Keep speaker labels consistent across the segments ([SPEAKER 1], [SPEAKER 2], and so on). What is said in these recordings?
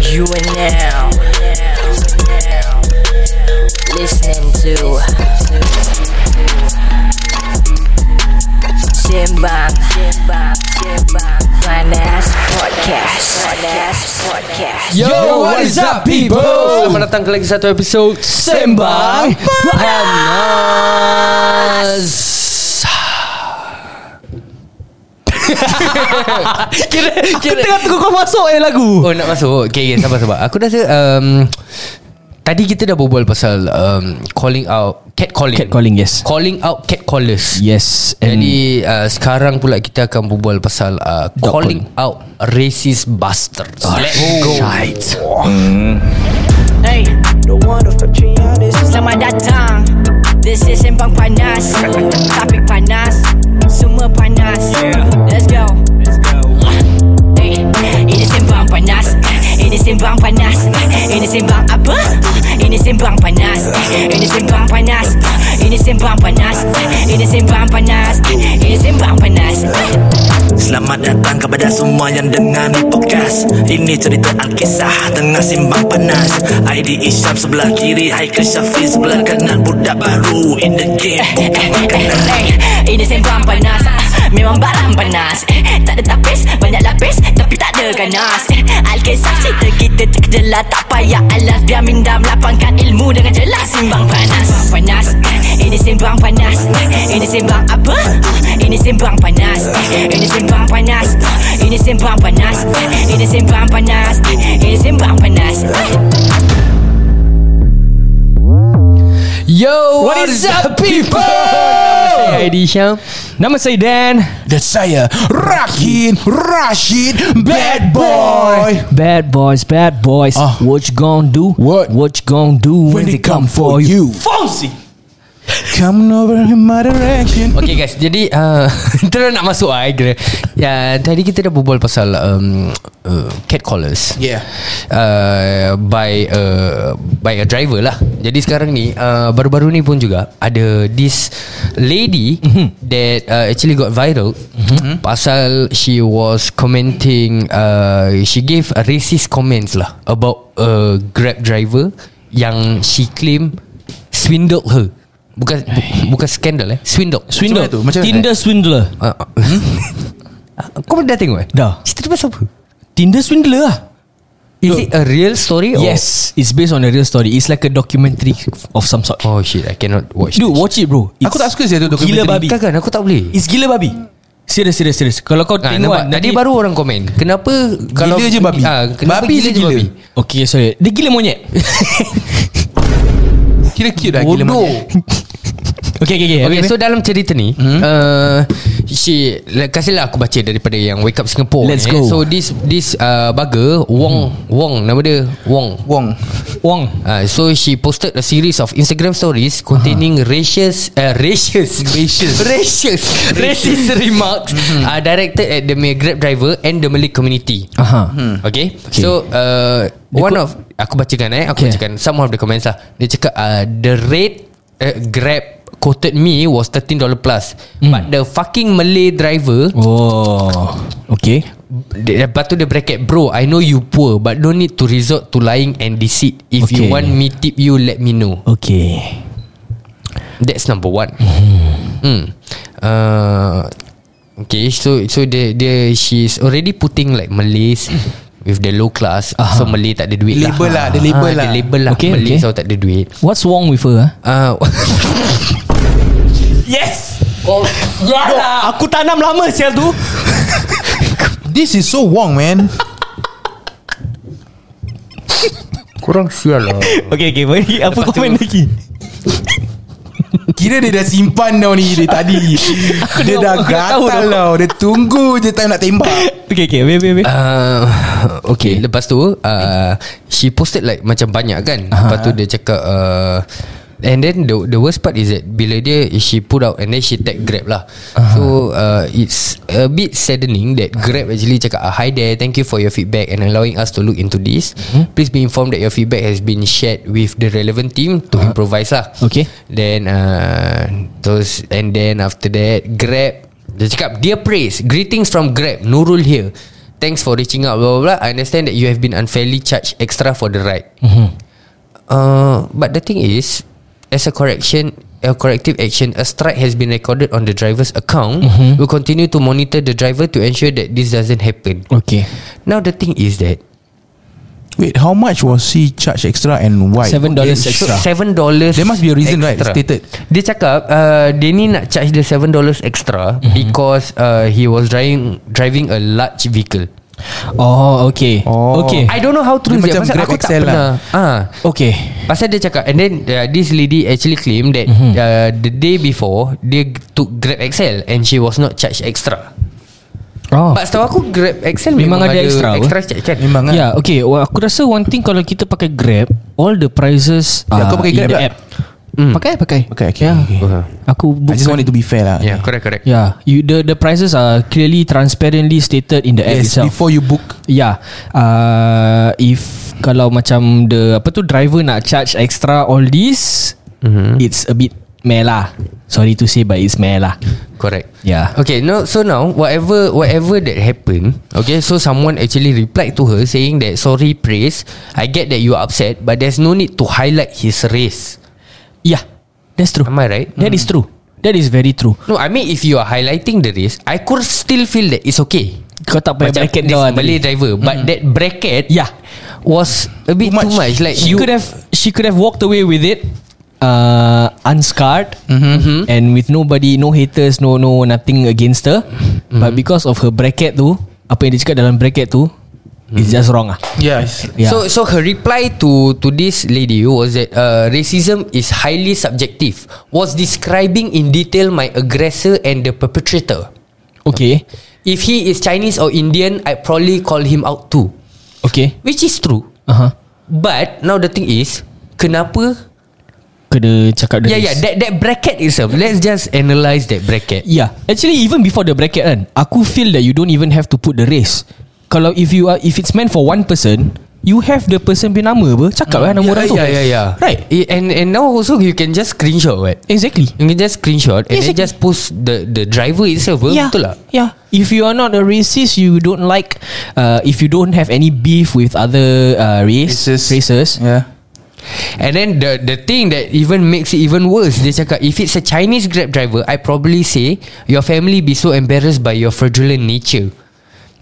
[SPEAKER 1] You are now listening to Simbang Finance Podcast. Finance Podcast.
[SPEAKER 2] Yo,
[SPEAKER 3] Oh, what is up, people?
[SPEAKER 2] Selamat datang ke lagi satu episod Sembang Panas Kira,
[SPEAKER 3] Aku
[SPEAKER 2] kira
[SPEAKER 3] tengah tunggu kau masuk eh lagu
[SPEAKER 2] Oh nak masuk Okay, okay sabar sabar Aku rasa um, Tadi kita dah berbual pasal um, Calling out Cat calling
[SPEAKER 3] Catcalling, yes.
[SPEAKER 2] Calling out cat callers
[SPEAKER 3] Yes and Jadi
[SPEAKER 2] Jadi uh, sekarang pula kita akan berbual pasal uh,
[SPEAKER 3] Dog Oh,
[SPEAKER 2] Calling out racist bastards Let's go
[SPEAKER 3] Right
[SPEAKER 1] Hey, selamat datang. This is Sembang Panas. Topik panas, semua panas. Let's go. Hey, ini Sembang Panas. Ini Sembang Panas. Ini Sembang apa? Ini Sembang Panas. Ini Sembang Panas. Ini Sembang Panas. Ini Sembang Panas. Ini Sembang Panas.
[SPEAKER 4] Selamat datang kepada semua yang dengar ni podcast Ini cerita Alkisah tengah simbang panas ID Isyam sebelah kiri Haikal Syafiq sebelah kanan Budak baru in the game Bukan makanan
[SPEAKER 1] Eh, Ini sembang panas Ah, Memang barang panas Eh, Tak ada tapis Banyak lapis Tapi tak ada ganas Eh, Alkisah cerita kita terkejelah Tak payah alas Biar minda melapangkan ilmu Dengan jelas Simbang panas Simbang panas Eh, Ini simbang panas Eh, Ini simbang apa? Ah, Ini simbang panas Eh, Ini simbang panas Ah, Ini simbang panas Eh, Ini simbang panas Eh, Ini simbang panas Eh.
[SPEAKER 2] Yo,
[SPEAKER 3] What is up, people?
[SPEAKER 2] Saya Aidy Syam
[SPEAKER 3] Nama saya Dan
[SPEAKER 5] Dan saya Rakin Rashid Bad Boy
[SPEAKER 3] Bad boys, bad boys
[SPEAKER 5] Ah.
[SPEAKER 3] What you gonna do?
[SPEAKER 5] What?
[SPEAKER 3] What you gonna do
[SPEAKER 5] When they come for you
[SPEAKER 3] Fonzie
[SPEAKER 5] Coming over in my direction
[SPEAKER 2] Okay guys Jadi uh, Kita dah nak masuk lah I kira ya, Tadi kita dah berbual pasal um, uh, Cat callers
[SPEAKER 5] Yeah.
[SPEAKER 2] uh, By uh, By a driver lah Jadi sekarang ni uh, Baru-baru ni pun juga Ada this Lady That uh, actually got viral Pasal She was commenting uh, She gave racist comments lah About a Grab driver Yang she claim Swindled her Bukan bu, bukan scandal eh Swindled
[SPEAKER 3] Swindler
[SPEAKER 5] Macam mana tu? Macam mana?
[SPEAKER 3] Tinder swindler
[SPEAKER 2] Uh, Kau dah tengok eh?
[SPEAKER 3] Dah.
[SPEAKER 2] Cerita pasal apa?
[SPEAKER 3] Tinder swindler lah
[SPEAKER 2] Is it a real story?
[SPEAKER 3] Yes It's based on a real story It's like a documentary Of some sort
[SPEAKER 2] Or? Oh shit, I cannot watch
[SPEAKER 3] Dude watch it bro It's
[SPEAKER 5] Aku tak suka sih tu
[SPEAKER 3] Gila
[SPEAKER 5] documentary.
[SPEAKER 3] babi
[SPEAKER 2] Kan kan, aku tak boleh.
[SPEAKER 3] It's gila babi Serius serius serius Kalau kau
[SPEAKER 2] Ah,
[SPEAKER 3] tengok kan,
[SPEAKER 2] nampak? Tadi baru orang komen. Kenapa kalau
[SPEAKER 5] je babi.
[SPEAKER 2] Ah,
[SPEAKER 5] Babi
[SPEAKER 2] kenapa babi gila
[SPEAKER 5] je
[SPEAKER 2] je
[SPEAKER 5] gila.
[SPEAKER 2] babi?
[SPEAKER 3] Okay sorry Dia gila monyet
[SPEAKER 5] Kira cute lah gila
[SPEAKER 2] Bodoh.
[SPEAKER 5] monyet.
[SPEAKER 3] Okay okay okay
[SPEAKER 2] Okay, so dalam cerita ni, uh, she like, kasihlah aku baca daripada yang Wake Up Singapore.
[SPEAKER 3] Let's
[SPEAKER 2] eh.
[SPEAKER 3] go.
[SPEAKER 2] So this this uh, bugger Wong Wong nama dia Wong.
[SPEAKER 5] Wong
[SPEAKER 3] Wong
[SPEAKER 2] Uh, so she posted a series of Instagram stories containing racist, uh, racist, racist, racist, racist remarks
[SPEAKER 3] Mm-hmm.
[SPEAKER 2] uh, directed at the Malay Grab driver and the Malay community. Hmm.
[SPEAKER 3] Aha.
[SPEAKER 2] Okay. So uh, one of aku bacakan eh, aku
[SPEAKER 3] Okay.
[SPEAKER 2] bacakan some of the comments lah. Dia cakap uh, the rate uh, Grab quoted me was $13 plus but the fucking Malay driver
[SPEAKER 3] Hmm. Oh Okay
[SPEAKER 2] dia- Lepas tu dia bracket Bro I know you poor But don't need to resort To lying and deceit If you
[SPEAKER 3] Okay.
[SPEAKER 2] want me tip you Let me know
[SPEAKER 3] Okay
[SPEAKER 2] That's number one. Hmm. Uh, okay, so so the the she's already putting like Malays with the low class. Uh-huh. So Malay tak ada duit
[SPEAKER 5] Label lah, ada
[SPEAKER 2] lah.
[SPEAKER 5] label
[SPEAKER 2] Ah, Ada
[SPEAKER 5] lah.
[SPEAKER 2] label lah. Okay,
[SPEAKER 3] Okay,
[SPEAKER 2] Malay
[SPEAKER 3] okay.
[SPEAKER 2] so tak ada duit.
[SPEAKER 3] What's wrong with her ah?
[SPEAKER 2] Uh,
[SPEAKER 5] Ah.
[SPEAKER 3] Yalah Aku tanam lama sial tu
[SPEAKER 5] This is so Wong man
[SPEAKER 2] Kurang sial lah.
[SPEAKER 3] Okay okay baik. Apa komen lagi
[SPEAKER 5] Kira dia dah simpan tau ni Dia tadi Dia dah
[SPEAKER 3] aku dah tahu
[SPEAKER 5] gatal
[SPEAKER 3] dah.
[SPEAKER 5] tau Dia tunggu je time nak tembak
[SPEAKER 3] Okay okay wait, wait, wait.
[SPEAKER 2] Uh, okay, lepas tu uh, she posted like macam banyak kan. Lepas tu dia cakap uh, and then the the worst part is that bila dia she put out and then she tag Grab lah. So uh, it's a bit saddening that Grab actually cakap uh, hi there, thank you for your feedback and allowing us to look into this. Please be informed that your feedback has been shared with the relevant team to improvise lah.
[SPEAKER 3] Okay.
[SPEAKER 2] Then uh, terus and then after that Grab dia cakap Dear Praise Greetings from Grab Nurul here Thanks for reaching out blah, blah, blah. I understand that you have been unfairly charged extra for the ride mm-hmm. uh, But the thing is As a correction A corrective action A strike has been recorded on the driver's account mm-hmm. We'll continue to monitor the driver To ensure that this doesn't happen
[SPEAKER 3] Okay
[SPEAKER 2] Now the thing is that
[SPEAKER 5] Wait how much was he charged extra And why
[SPEAKER 3] Seven dollars
[SPEAKER 2] It should
[SPEAKER 3] extra
[SPEAKER 2] Seven dollars
[SPEAKER 5] There must be a reason, right, stated.
[SPEAKER 2] Dia cakap uh, Dia ni nak charge dia seven dollars extra mm-hmm. Because uh, He was driving Driving a large vehicle
[SPEAKER 3] Oh okay
[SPEAKER 5] Oh.
[SPEAKER 3] Okay
[SPEAKER 2] I don't know how true
[SPEAKER 5] Dia macam
[SPEAKER 2] pasal
[SPEAKER 5] Grab
[SPEAKER 2] aku tak
[SPEAKER 5] XL lah.
[SPEAKER 2] pernah ah,
[SPEAKER 3] Okay
[SPEAKER 2] Pasal dia cakap And then uh, This lady actually claimed That mm-hmm. uh, The day before Dia g- took Grab XL And she was not charged extra
[SPEAKER 3] Oh
[SPEAKER 2] But setahu aku Grab XL
[SPEAKER 3] Memang
[SPEAKER 2] memang,
[SPEAKER 3] ada extra apa?
[SPEAKER 2] Extra charge kan
[SPEAKER 5] Memang
[SPEAKER 3] Ya yeah, okay well, Aku rasa one thing Kalau kita pakai Grab All the prices
[SPEAKER 5] Ya,
[SPEAKER 3] are
[SPEAKER 5] kau pakai
[SPEAKER 3] in
[SPEAKER 5] Grab
[SPEAKER 3] the
[SPEAKER 5] tak?
[SPEAKER 3] app mm. Pakai pakai
[SPEAKER 5] Okay, okay,
[SPEAKER 3] yeah.
[SPEAKER 5] okay.
[SPEAKER 3] Aku
[SPEAKER 5] I just
[SPEAKER 3] bukan
[SPEAKER 5] want it to be fair lah
[SPEAKER 2] Yeah correct correct
[SPEAKER 3] Yeah, you, the the prices are clearly transparently stated in the app
[SPEAKER 5] Yes
[SPEAKER 3] itself.
[SPEAKER 5] Before you book
[SPEAKER 3] Yeah Ya, uh, If Kalau macam the Apa tu driver nak charge extra All this
[SPEAKER 2] Mhm.
[SPEAKER 3] mm-hmm. It's a bit Meh lah Sorry to say But it's meh lah Ya.
[SPEAKER 2] Correct.
[SPEAKER 3] Yeah.
[SPEAKER 2] Okay. No. So now, whatever whatever that happened, okay. So someone actually replied to her saying that sorry, praise. I get that you are upset, but there's no need to highlight his race.
[SPEAKER 3] Yeah Ya, That's true
[SPEAKER 2] Am I right?
[SPEAKER 3] That is true That is very true
[SPEAKER 2] No, I mean if you are highlighting the race, I could still feel that it's okay.
[SPEAKER 3] Kau tak payah
[SPEAKER 2] Macam
[SPEAKER 3] bracket
[SPEAKER 2] this
[SPEAKER 3] kau lah
[SPEAKER 2] Malay
[SPEAKER 3] tadi.
[SPEAKER 2] driver, but that bracket,
[SPEAKER 3] Yeah.
[SPEAKER 2] was a
[SPEAKER 5] Too
[SPEAKER 2] bit
[SPEAKER 5] much.
[SPEAKER 2] too much. Like
[SPEAKER 3] She
[SPEAKER 2] you
[SPEAKER 3] could have She could have walked away with it uh, Unscarred
[SPEAKER 2] Mhm.
[SPEAKER 3] mm-hmm. And with nobody No haters No no nothing against her mm-hmm. But because of her bracket tu Apa yang dia cakap dalam bracket tu mm-hmm. It's just wrong lah
[SPEAKER 5] Yes
[SPEAKER 3] yeah.
[SPEAKER 2] So so her reply to to this lady was that uh, racism is highly subjective. Was describing in detail my aggressor and the perpetrator.
[SPEAKER 3] Okay
[SPEAKER 2] If he is Chinese or Indian, I probably call him out too,
[SPEAKER 3] Okay
[SPEAKER 2] which is true.
[SPEAKER 3] Uh-huh.
[SPEAKER 2] But now the thing is, kenapa?
[SPEAKER 3] Kena cakap the
[SPEAKER 2] Yeah yeah,
[SPEAKER 3] race.
[SPEAKER 2] that that bracket is a. Let's just analyze that bracket.
[SPEAKER 3] Yeah Ya. Actually even before the bracket kan Aku feel that you don't even have to put the race Kalau if you are If it's meant for one person You have the person punya nama apa Cakap lah nama orang tu
[SPEAKER 2] Mm. yeah yeah yeah.
[SPEAKER 3] Right
[SPEAKER 2] ya, Eh, And and now also you can just screenshot right.
[SPEAKER 3] Exactly
[SPEAKER 2] You can just screenshot and then
[SPEAKER 3] Exactly.
[SPEAKER 2] just post the the driver itself.
[SPEAKER 3] Ya.
[SPEAKER 2] Yeah. Betul lah.
[SPEAKER 3] Yeah. If you are not a racist, you don't like. Uh, if you don't have any beef with other uh, race, races, races
[SPEAKER 5] Yeah
[SPEAKER 2] And then the the thing that even makes it even worse, dia cakap if it's a Chinese Grab driver, I probably say your family be so embarrassed by your fraudulent nature.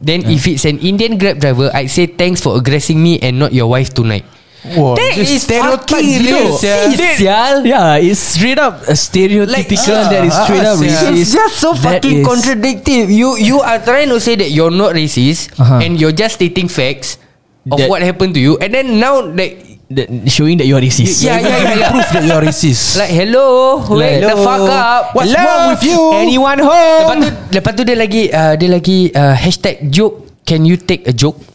[SPEAKER 2] Then if it's an Indian Grab driver, I'd say thanks for aggressing me and not your wife tonight.
[SPEAKER 5] Wow, this stereotype gila, sia.
[SPEAKER 2] It's
[SPEAKER 3] Sial Yeah It's straight up a Stereotypical
[SPEAKER 5] Like,
[SPEAKER 3] That is
[SPEAKER 5] ah,
[SPEAKER 3] straight up
[SPEAKER 5] sia.
[SPEAKER 3] racist
[SPEAKER 2] uh, It's just so
[SPEAKER 3] That
[SPEAKER 2] fucking
[SPEAKER 3] is-
[SPEAKER 2] contradictive. You you are trying to say that you're not racist
[SPEAKER 3] Uh-huh.
[SPEAKER 2] and you're just stating facts of
[SPEAKER 3] That-
[SPEAKER 2] what happened to you. And then now like
[SPEAKER 3] that, Showing that you are racist
[SPEAKER 2] yeah yeah yeah, yeah.
[SPEAKER 5] Proof that you're racist
[SPEAKER 2] Like hello Wake
[SPEAKER 3] Like,
[SPEAKER 2] the fuck up
[SPEAKER 5] What's
[SPEAKER 2] Hello?
[SPEAKER 5] wrong with you?
[SPEAKER 3] Anyone
[SPEAKER 2] Lepas
[SPEAKER 3] home
[SPEAKER 2] tu Lepas tu dia lagi uh, Dia lagi uh, Hashtag joke Can you take a joke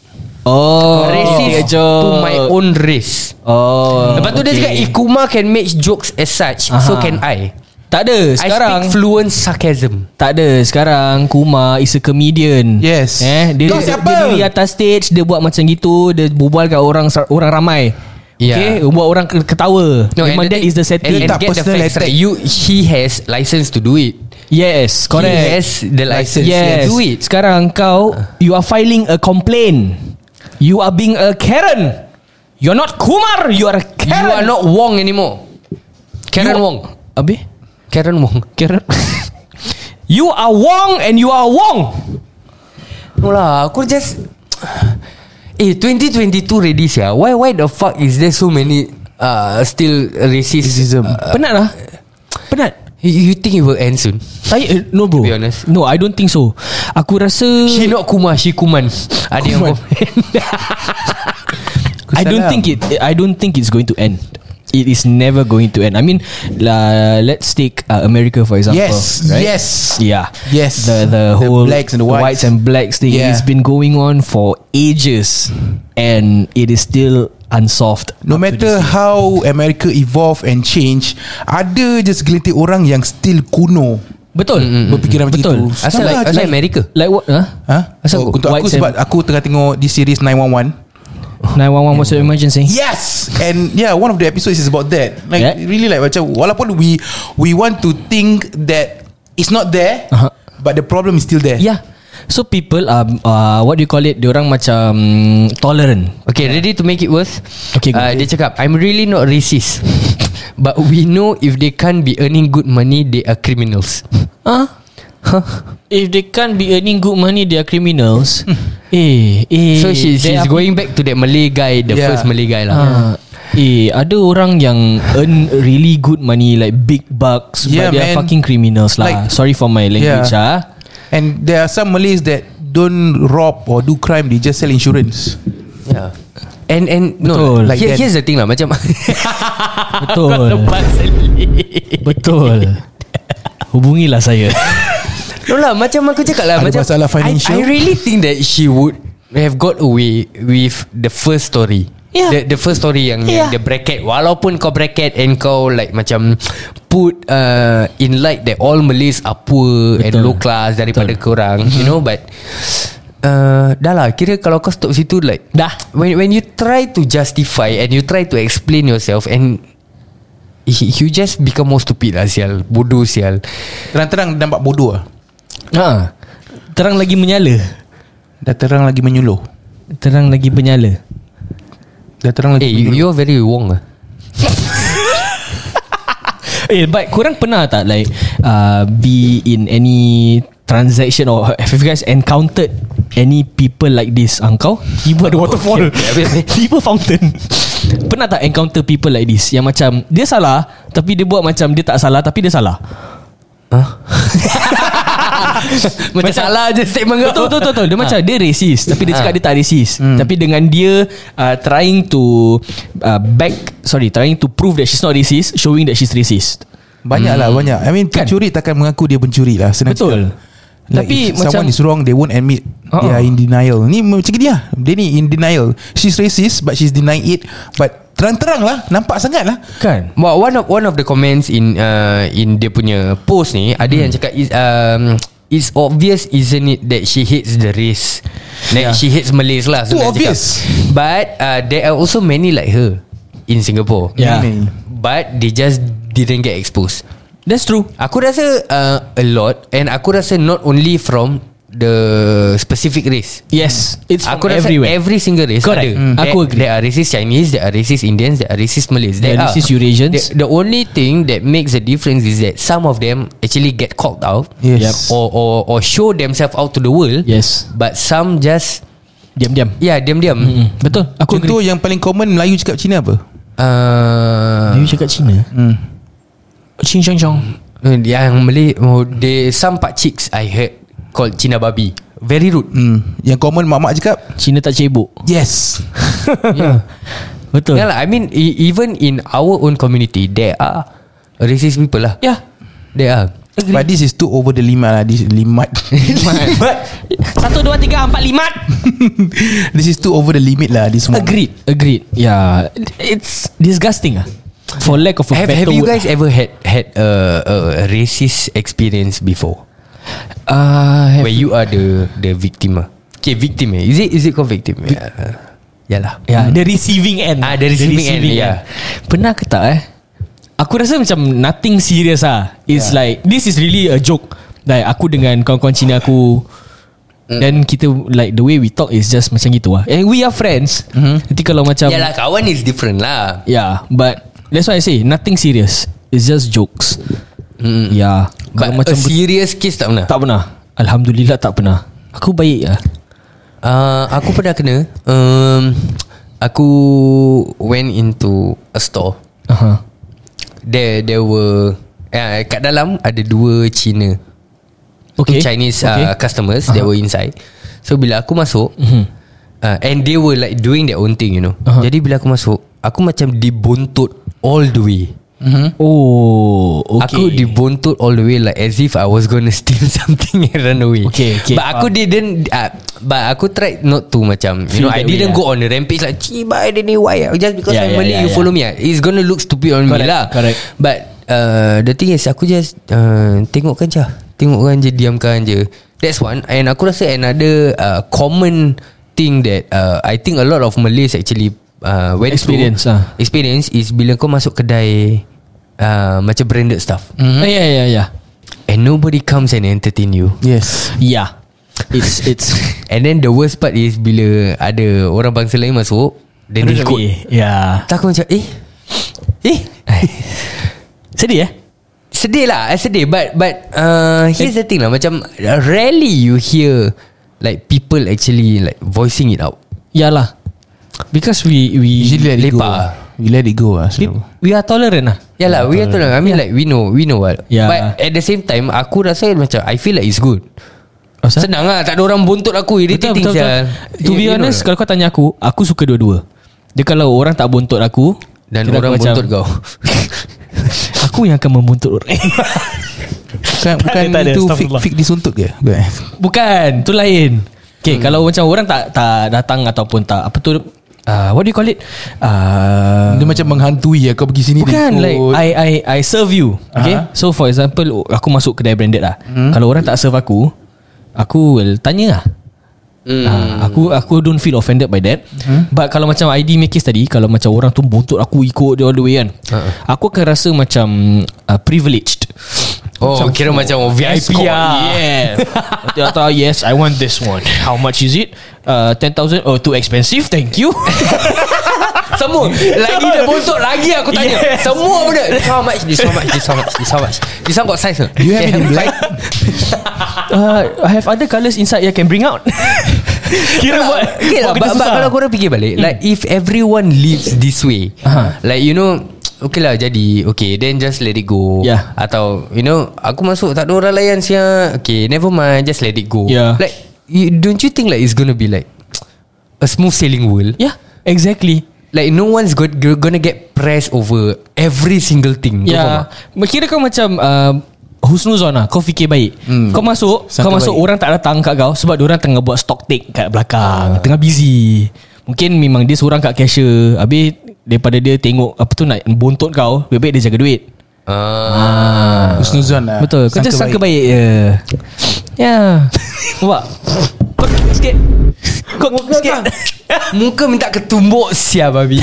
[SPEAKER 3] Oh
[SPEAKER 2] Racist
[SPEAKER 3] take a joke.
[SPEAKER 2] To my own race
[SPEAKER 3] Oh
[SPEAKER 2] Lepas tu okay. dia
[SPEAKER 3] okay.
[SPEAKER 2] cakap If Kuma can make jokes as such Aha. So
[SPEAKER 3] Aha.
[SPEAKER 2] can I
[SPEAKER 3] Tak ada Sekarang
[SPEAKER 2] I speak fluent sarcasm
[SPEAKER 3] Tak ada Sekarang Kuma is a comedian
[SPEAKER 5] Yes.
[SPEAKER 3] eh, dia,
[SPEAKER 5] Kau
[SPEAKER 3] dia,
[SPEAKER 5] siapa?
[SPEAKER 3] dia diri atas stage Dia buat macam gitu Dia berbual kat orang orang ramai
[SPEAKER 2] Yeah.
[SPEAKER 3] Okay Buat orang ke- ketawa no, Memang
[SPEAKER 2] and
[SPEAKER 3] that
[SPEAKER 2] the-
[SPEAKER 3] is the setting
[SPEAKER 2] And, and
[SPEAKER 5] Tak
[SPEAKER 2] get the
[SPEAKER 5] personal
[SPEAKER 2] facts
[SPEAKER 5] attack.
[SPEAKER 2] right You He has license to do it
[SPEAKER 3] Yes Correct
[SPEAKER 2] He has the license
[SPEAKER 3] Yes
[SPEAKER 2] to do it
[SPEAKER 3] Sekarang kau You are filing a complaint You are being a Karen You're not Kumar You are a Karen
[SPEAKER 2] You are not Wong anymore Karen
[SPEAKER 3] You-
[SPEAKER 2] Wong
[SPEAKER 3] Abi
[SPEAKER 2] Karen Wong
[SPEAKER 3] Karen You are Wong And you are Wong
[SPEAKER 2] No lah Aku just Eh 2022 ready sia Why why the fuck Is there so many uh, Still racist
[SPEAKER 5] Racism.
[SPEAKER 2] uh,
[SPEAKER 3] Penat lah Penat
[SPEAKER 2] you, you think it will end soon
[SPEAKER 3] Saya no bro.
[SPEAKER 2] be honest.
[SPEAKER 3] No, I don't think so. Aku rasa
[SPEAKER 2] She not Kumar She Kuman Ada yang
[SPEAKER 3] Kuman.
[SPEAKER 2] komen
[SPEAKER 3] I don't think it I don't think it's going to end. It is never going to end. I mean, la, let's take uh, America for example.
[SPEAKER 5] Yes
[SPEAKER 3] right?
[SPEAKER 5] Yes
[SPEAKER 3] Yeah.
[SPEAKER 5] Yes.
[SPEAKER 3] The the
[SPEAKER 5] The
[SPEAKER 3] whole
[SPEAKER 5] blacks and the whites.
[SPEAKER 3] and blacks thing
[SPEAKER 5] Yeah.
[SPEAKER 3] it's been going on for ages and it is still unsolved.
[SPEAKER 5] No
[SPEAKER 3] up to
[SPEAKER 5] matter how America evolve and change Ada je segelintir orang yang still kuno
[SPEAKER 3] Betul. Mm-hmm.
[SPEAKER 5] Berfikiran macam
[SPEAKER 3] Betul.
[SPEAKER 5] itu
[SPEAKER 2] Asal
[SPEAKER 5] Sama
[SPEAKER 2] like,
[SPEAKER 5] je.
[SPEAKER 2] asal America
[SPEAKER 3] Like what? Huh?
[SPEAKER 5] Ha?
[SPEAKER 3] Asal
[SPEAKER 5] Oh,
[SPEAKER 3] aku-
[SPEAKER 5] untuk aku
[SPEAKER 3] whites
[SPEAKER 5] sebab aku tengah tengok di series 911
[SPEAKER 3] 911 was an emergency.
[SPEAKER 5] Yes And yeah One of the episodes is about that Like
[SPEAKER 3] Yeah.
[SPEAKER 5] yeah. really like Macam walaupun we We want to think that It's not there
[SPEAKER 3] Uh-huh.
[SPEAKER 5] But the problem is still there
[SPEAKER 3] Yeah. So people are uh, What do you call it Diorang macam mm, Tolerant
[SPEAKER 2] Okay, ready to make it worse.
[SPEAKER 3] Okay,
[SPEAKER 2] uh,
[SPEAKER 3] good.
[SPEAKER 2] dia cakap, I'm really not racist. But we know if they can't be earning good money, they are criminals.
[SPEAKER 3] Huh? If they can't be earning good money They are criminals Eh, eh
[SPEAKER 2] So she,
[SPEAKER 3] there
[SPEAKER 2] she's
[SPEAKER 3] are
[SPEAKER 2] going back to that Malay guy, the
[SPEAKER 5] Yeah.
[SPEAKER 2] first Malay guy lah.
[SPEAKER 3] Ah, eh, ada orang yang earn really good money like big bucks,
[SPEAKER 5] Yeah,
[SPEAKER 3] but they are
[SPEAKER 5] man.
[SPEAKER 3] fucking criminals lah.
[SPEAKER 5] Like-
[SPEAKER 3] Sorry for my language
[SPEAKER 5] Yeah.
[SPEAKER 3] ah.
[SPEAKER 5] And there are some Malays that don't rob or do crime. They just sell insurance.
[SPEAKER 2] Yeah. And and no,
[SPEAKER 3] Betul.
[SPEAKER 2] like
[SPEAKER 5] Like
[SPEAKER 2] here,
[SPEAKER 5] that.
[SPEAKER 2] here's the thing lah macam
[SPEAKER 3] Betul. Betul. Hubungilah saya.
[SPEAKER 2] no lah macam aku cakap lah
[SPEAKER 5] Ada
[SPEAKER 2] macam
[SPEAKER 5] masalah financial.
[SPEAKER 2] I, I really think that she would have got away with the first story.
[SPEAKER 3] Yeah.
[SPEAKER 2] The, the first story yang, yeah. yang
[SPEAKER 3] Yeah.
[SPEAKER 2] the bracket walaupun kau bracket and kau like macam put uh, in light that all Malays are poor Betul. and
[SPEAKER 3] Betul.
[SPEAKER 2] low class daripada Betul. korang
[SPEAKER 5] Mm-hmm.
[SPEAKER 2] you know but uh, dah lah kira kalau kau stop situ like
[SPEAKER 3] Dah.
[SPEAKER 2] when when you try to justify and you try to explain yourself and y- you just become more stupid lah sial bodoh sial
[SPEAKER 5] Terang-terang nampak bodoh lah.
[SPEAKER 3] ha. Terang lagi menyala.
[SPEAKER 5] Dah terang lagi menyuluh.
[SPEAKER 3] Terang lagi menyala.
[SPEAKER 5] Dah terang lagi
[SPEAKER 2] eh you, you're very wrong lah
[SPEAKER 3] Eh, but korang pernah tak like uh, be in any transaction or have you guys encountered any people like this? Ah, Angkau? Tiba ada waterfall. Tiba fountain. pernah tak encounter people like this yang macam dia salah tapi dia buat macam dia tak salah tapi dia salah.
[SPEAKER 2] macam salah je statement kau Ha. Hmm.
[SPEAKER 3] Betul betul betul, betul. Dia macam dia racist tapi dia cakap dia tak racist. Tapi dengan dia uh, trying to uh, back sorry trying to prove that she's not racist showing that she's racist.
[SPEAKER 5] Banyak lah banyak I mean pencuri takkan mengaku dia pencuri lah senang
[SPEAKER 3] Hmm. Kan? Betul.
[SPEAKER 5] cakap. Like
[SPEAKER 3] Tapi
[SPEAKER 5] Tapi if someone
[SPEAKER 3] macam-
[SPEAKER 5] is wrong They won't admit uh-uh. They are in denial Ni macam dia Dia ni in denial She's racist But she's denying it But terang-terang lah Nampak sangat lah
[SPEAKER 3] Kan?
[SPEAKER 2] Well, one of one of the comments in uh, in dia punya post ni ada yang cakap is um it's obvious isn't it that she hates the race. Like yeah. she hates Malays lah.
[SPEAKER 5] Too
[SPEAKER 2] senang cakap.
[SPEAKER 5] obvious.
[SPEAKER 2] But uh, there are also many like her in Singapore.
[SPEAKER 3] Yeah.
[SPEAKER 5] Many.
[SPEAKER 2] But they just didn't get exposed.
[SPEAKER 3] That's true.
[SPEAKER 2] Aku rasa uh, a lot and aku rasa not only from the specific race.
[SPEAKER 3] Yes, it's from
[SPEAKER 2] Aku rasa
[SPEAKER 3] everywhere.
[SPEAKER 2] every single race
[SPEAKER 3] Correct.
[SPEAKER 2] ada.
[SPEAKER 3] Mm.
[SPEAKER 2] There,
[SPEAKER 3] Aku agree.
[SPEAKER 2] Hmm. There are racist Chinese, there are racist Indians, there are racist Malays.
[SPEAKER 3] There are racist Eurasians.
[SPEAKER 2] The, the only thing that makes a difference is that some of them actually get called out
[SPEAKER 5] Yes
[SPEAKER 3] Yep.
[SPEAKER 2] or or or show themselves out to the world.
[SPEAKER 3] Yes.
[SPEAKER 2] But some just
[SPEAKER 3] Diam-diam.
[SPEAKER 2] yeah, diam-diam. Mm-hmm.
[SPEAKER 3] Betul. Aku
[SPEAKER 5] Contoh
[SPEAKER 3] agree.
[SPEAKER 5] yang paling common Melayu cakap Cina apa
[SPEAKER 2] Uh,
[SPEAKER 3] cakap Cina. Hmm. Ching chong chong.
[SPEAKER 2] yang Malay, oh, they some pak chicks I heard called Cina babi. Very rude.
[SPEAKER 5] hmm. Yang common mak-mak cakap
[SPEAKER 3] Cina tak cebok.
[SPEAKER 5] Yes
[SPEAKER 3] Ya. Betul.
[SPEAKER 2] Yeah lah, I mean e- even in our own community there are racist people lah.
[SPEAKER 3] Yeah.
[SPEAKER 2] There are.
[SPEAKER 5] But this is too over the limit lah This limit
[SPEAKER 3] Satu, dua, tiga, empat, lima.
[SPEAKER 5] This is too over the limit lah This one
[SPEAKER 3] Agreed. Agreed. Ya. Yeah. It's disgusting ah. For lack of a
[SPEAKER 2] Have,
[SPEAKER 3] better
[SPEAKER 2] have you
[SPEAKER 3] word.
[SPEAKER 2] guys ever had had a, a racist experience before
[SPEAKER 3] Uh, have,
[SPEAKER 2] where you are the the victim? ah? Okay, victim. Eh. Is it is it called victim? Vic- yeah lah.
[SPEAKER 3] yeah, the receiving end.
[SPEAKER 2] Ah, the receiving end, yeah.
[SPEAKER 3] Pernah ke tak eh? Aku rasa macam nothing serious ah.
[SPEAKER 2] Ya.
[SPEAKER 3] It's yeah. like this is really a joke. Like aku dengan kawan-kawan Cina aku
[SPEAKER 2] Mm.
[SPEAKER 3] Then kita like the way we talk is just macam gitu lah. And we are friends. Mm-hmm. Nanti kalau macam
[SPEAKER 2] Yeah lah, kawan is different lah.
[SPEAKER 3] Yeah, but that's why I say nothing serious. It's just jokes. Mm. Yeah.
[SPEAKER 2] But
[SPEAKER 3] Kalau
[SPEAKER 2] macam
[SPEAKER 3] macam
[SPEAKER 2] a serious case tak pernah.
[SPEAKER 3] tak pernah. Alhamdulillah tak pernah. Aku baik lah.
[SPEAKER 2] Uh, aku pernah kena. Um, aku went into a store.
[SPEAKER 3] Aha.
[SPEAKER 2] There there were uh, kat dalam ada dua Cina.
[SPEAKER 3] Okay.
[SPEAKER 2] Okay. Chinese
[SPEAKER 3] Okay. Mhm.
[SPEAKER 2] uh, customers uh-huh. that were inside. So bila aku masuk mm-hmm. uh, and they were like doing their own thing you know. Uh-huh. Jadi bila aku masuk, aku macam dibuntut all the way.
[SPEAKER 3] Oh, okay.
[SPEAKER 2] Okay. mm-hmm. Aku dibuntut all the way like as if I was gonna steal something and run away.
[SPEAKER 3] Okay, okay.
[SPEAKER 2] But aku didn't uh, but aku tried not to macam you
[SPEAKER 3] Feel
[SPEAKER 2] know
[SPEAKER 3] that
[SPEAKER 2] I
[SPEAKER 3] way, ah.
[SPEAKER 2] didn't go on the rampage like cibai dia ni why ah?" just because
[SPEAKER 3] Yeah, yeah,
[SPEAKER 2] I'm Malay
[SPEAKER 3] yeah,
[SPEAKER 2] you
[SPEAKER 3] yeah.
[SPEAKER 2] follow me ah. It's gonna look stupid on me
[SPEAKER 3] Correct,
[SPEAKER 2] lah.
[SPEAKER 3] correct.
[SPEAKER 2] But uh, the thing is aku just uh, tengokkan je. Tengokkan je diamkan je. That's one and aku rasa another uh, common thing that uh, I think a lot of Malays actually uh, went
[SPEAKER 3] Experience,
[SPEAKER 2] through,
[SPEAKER 3] ah.
[SPEAKER 2] experience is bila kau masuk kedai uh, macam branded stuff
[SPEAKER 3] Mm-hmm. Oh, Yeah, yeah, yeah.
[SPEAKER 2] and nobody comes and entertain you.
[SPEAKER 5] Yes
[SPEAKER 3] Yeah. Ya. It's it's
[SPEAKER 2] And then the worst part is Bila ada orang bangsa lain masuk Then dia ikut
[SPEAKER 3] Yeah
[SPEAKER 2] Tak aku macam eh Eh
[SPEAKER 3] Sedih eh
[SPEAKER 2] Sedih lah I sedih But but uh, Here's the thing lah Macam Rarely you hear Like people actually Like voicing it out
[SPEAKER 3] Yalah Ya lah. Because we we
[SPEAKER 5] Usually let it go
[SPEAKER 2] lepak.
[SPEAKER 5] lah. We let it go lah
[SPEAKER 3] we,
[SPEAKER 5] slow.
[SPEAKER 3] we are tolerant lah
[SPEAKER 2] Yeah lah We are tolong I mean like We know We know what
[SPEAKER 3] Yeah.
[SPEAKER 2] But at the same time Aku rasa macam I feel like it's good
[SPEAKER 3] oh,
[SPEAKER 2] Senang lah Tak ada orang buntut aku
[SPEAKER 3] Betul,
[SPEAKER 2] Irritating
[SPEAKER 3] betul, betul. Ya,
[SPEAKER 2] sial.
[SPEAKER 3] To be
[SPEAKER 2] You- you know
[SPEAKER 3] honest
[SPEAKER 2] tak?
[SPEAKER 3] Kalau kau tanya aku Aku suka dua-dua Dia kalau orang tak buntut aku
[SPEAKER 2] Dan
[SPEAKER 3] kira
[SPEAKER 2] orang
[SPEAKER 3] aku
[SPEAKER 2] buntut
[SPEAKER 3] macam,
[SPEAKER 2] kau
[SPEAKER 3] Aku yang akan membuntut orang Eh,
[SPEAKER 5] Bukan,
[SPEAKER 3] Tak
[SPEAKER 5] bukan
[SPEAKER 3] ada, tak ada, lah.
[SPEAKER 5] itu fake,
[SPEAKER 3] astagfirullah.
[SPEAKER 5] fake disuntut ke? Bukan.
[SPEAKER 3] Ah. Bukan Tu lain Okay hmm. kalau macam orang tak tak datang Ataupun tak Apa tu uh, What do you call it uh,
[SPEAKER 5] Dia macam menghantui ya Kau pergi sini
[SPEAKER 3] Bukan
[SPEAKER 5] dia ikut.
[SPEAKER 3] like I I I serve you Okay
[SPEAKER 5] Aha.
[SPEAKER 3] uh-huh. So for example Aku masuk kedai branded lah hmm. Kalau orang tak serve aku Aku will tanya lah hmm. Aku aku don't feel offended by that hmm. But kalau macam ID Makis tadi Kalau macam orang tu buntut aku Ikut dia all the way kan
[SPEAKER 2] Ha-ha.
[SPEAKER 3] Aku akan rasa macam uh, Privileged
[SPEAKER 2] Oh kira macam VIP
[SPEAKER 3] Escort,
[SPEAKER 2] lah
[SPEAKER 3] Yeah Dia kata yes I want this one How much is it uh, 10,000 Oh too expensive Thank you
[SPEAKER 2] Semua Lagi dia buntut Lagi aku tanya
[SPEAKER 3] Yes.
[SPEAKER 2] Semua benda This how much This how much This how much This how much This one got size
[SPEAKER 5] Do you have it in black?
[SPEAKER 3] uh, I have other colours inside I can bring out Kira buat
[SPEAKER 2] Okay lah
[SPEAKER 3] buat
[SPEAKER 2] but,
[SPEAKER 3] kerja
[SPEAKER 2] but
[SPEAKER 3] susah. Hmm.
[SPEAKER 2] kalau korang fikir balik Like if everyone lives this way
[SPEAKER 3] Aha.
[SPEAKER 2] Like you know Okay lah jadi Okay then just let it go
[SPEAKER 3] Yeah.
[SPEAKER 2] Atau you know Aku masuk tak ada orang layan sia Okay never mind Just let it go
[SPEAKER 3] Yeah.
[SPEAKER 2] Like you, Don't you think like It's gonna be like A smooth sailing world
[SPEAKER 3] Yeah Exactly
[SPEAKER 2] Like no one's go- go- gonna get pressed over Every single thing Kau
[SPEAKER 3] Ya
[SPEAKER 2] faham tak?
[SPEAKER 3] yeah. Kira kau macam uh, Husnuzon lah Kau fikir baik hmm. Kau masuk Kau
[SPEAKER 5] Sangka
[SPEAKER 3] masuk
[SPEAKER 5] baik.
[SPEAKER 3] orang tak datang kat kau Sebab orang tengah buat stock take Kat belakang Tengah busy Mungkin memang dia seorang kat cashier Habis Daripada dia tengok Apa tu nak Bontot kau Lebih baik dia jaga duit
[SPEAKER 2] Ah.
[SPEAKER 3] ah.
[SPEAKER 5] Husnuzon lah
[SPEAKER 3] Betul Kau
[SPEAKER 5] Sangka
[SPEAKER 3] just sangka
[SPEAKER 5] baik.
[SPEAKER 3] baik, Ya yeah. Nampak Kau ngok sikit Kau ngok sikit
[SPEAKER 2] Muka minta ketumbuk sia babi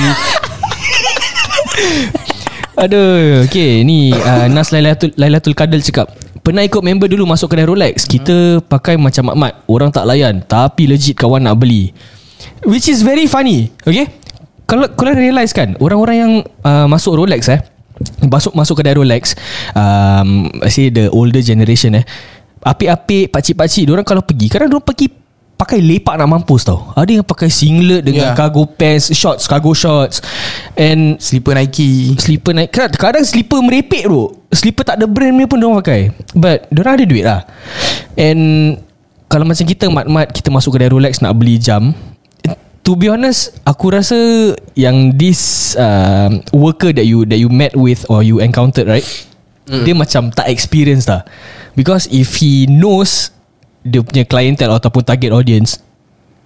[SPEAKER 3] Aduh Okay ni uh, Nas Lailatul, Lailatul Kadal cakap Pernah ikut member dulu masuk kedai Rolex Kita pakai macam mat-mat Orang tak layan Tapi legit kawan nak beli Which is very funny Okay Kalau korang realise kan Orang-orang yang uh, masuk Rolex eh Masuk masuk kedai Rolex um, I say the older generation eh Apik-apik Pakcik-pakcik Diorang kalau pergi Kadang diorang pergi Pakai lepak nak mampus tau Ada yang pakai singlet
[SPEAKER 5] Yeah.
[SPEAKER 3] Dengan yeah. cargo pants Shorts Cargo shorts And
[SPEAKER 5] Slipper Nike
[SPEAKER 3] Slipper naik kadang, kadang slipper merepek bro Slipper tak ada brand punya pun Diorang pakai But Diorang ada duit lah And Kalau macam kita mat-mat Kita masuk kedai Rolex Nak beli jam To be honest Aku rasa Yang this uh, Worker that you That you met with Or you encountered right
[SPEAKER 5] Hmm.
[SPEAKER 3] mm. Dia macam tak experience lah Because if he knows Dia punya clientele Ataupun target audience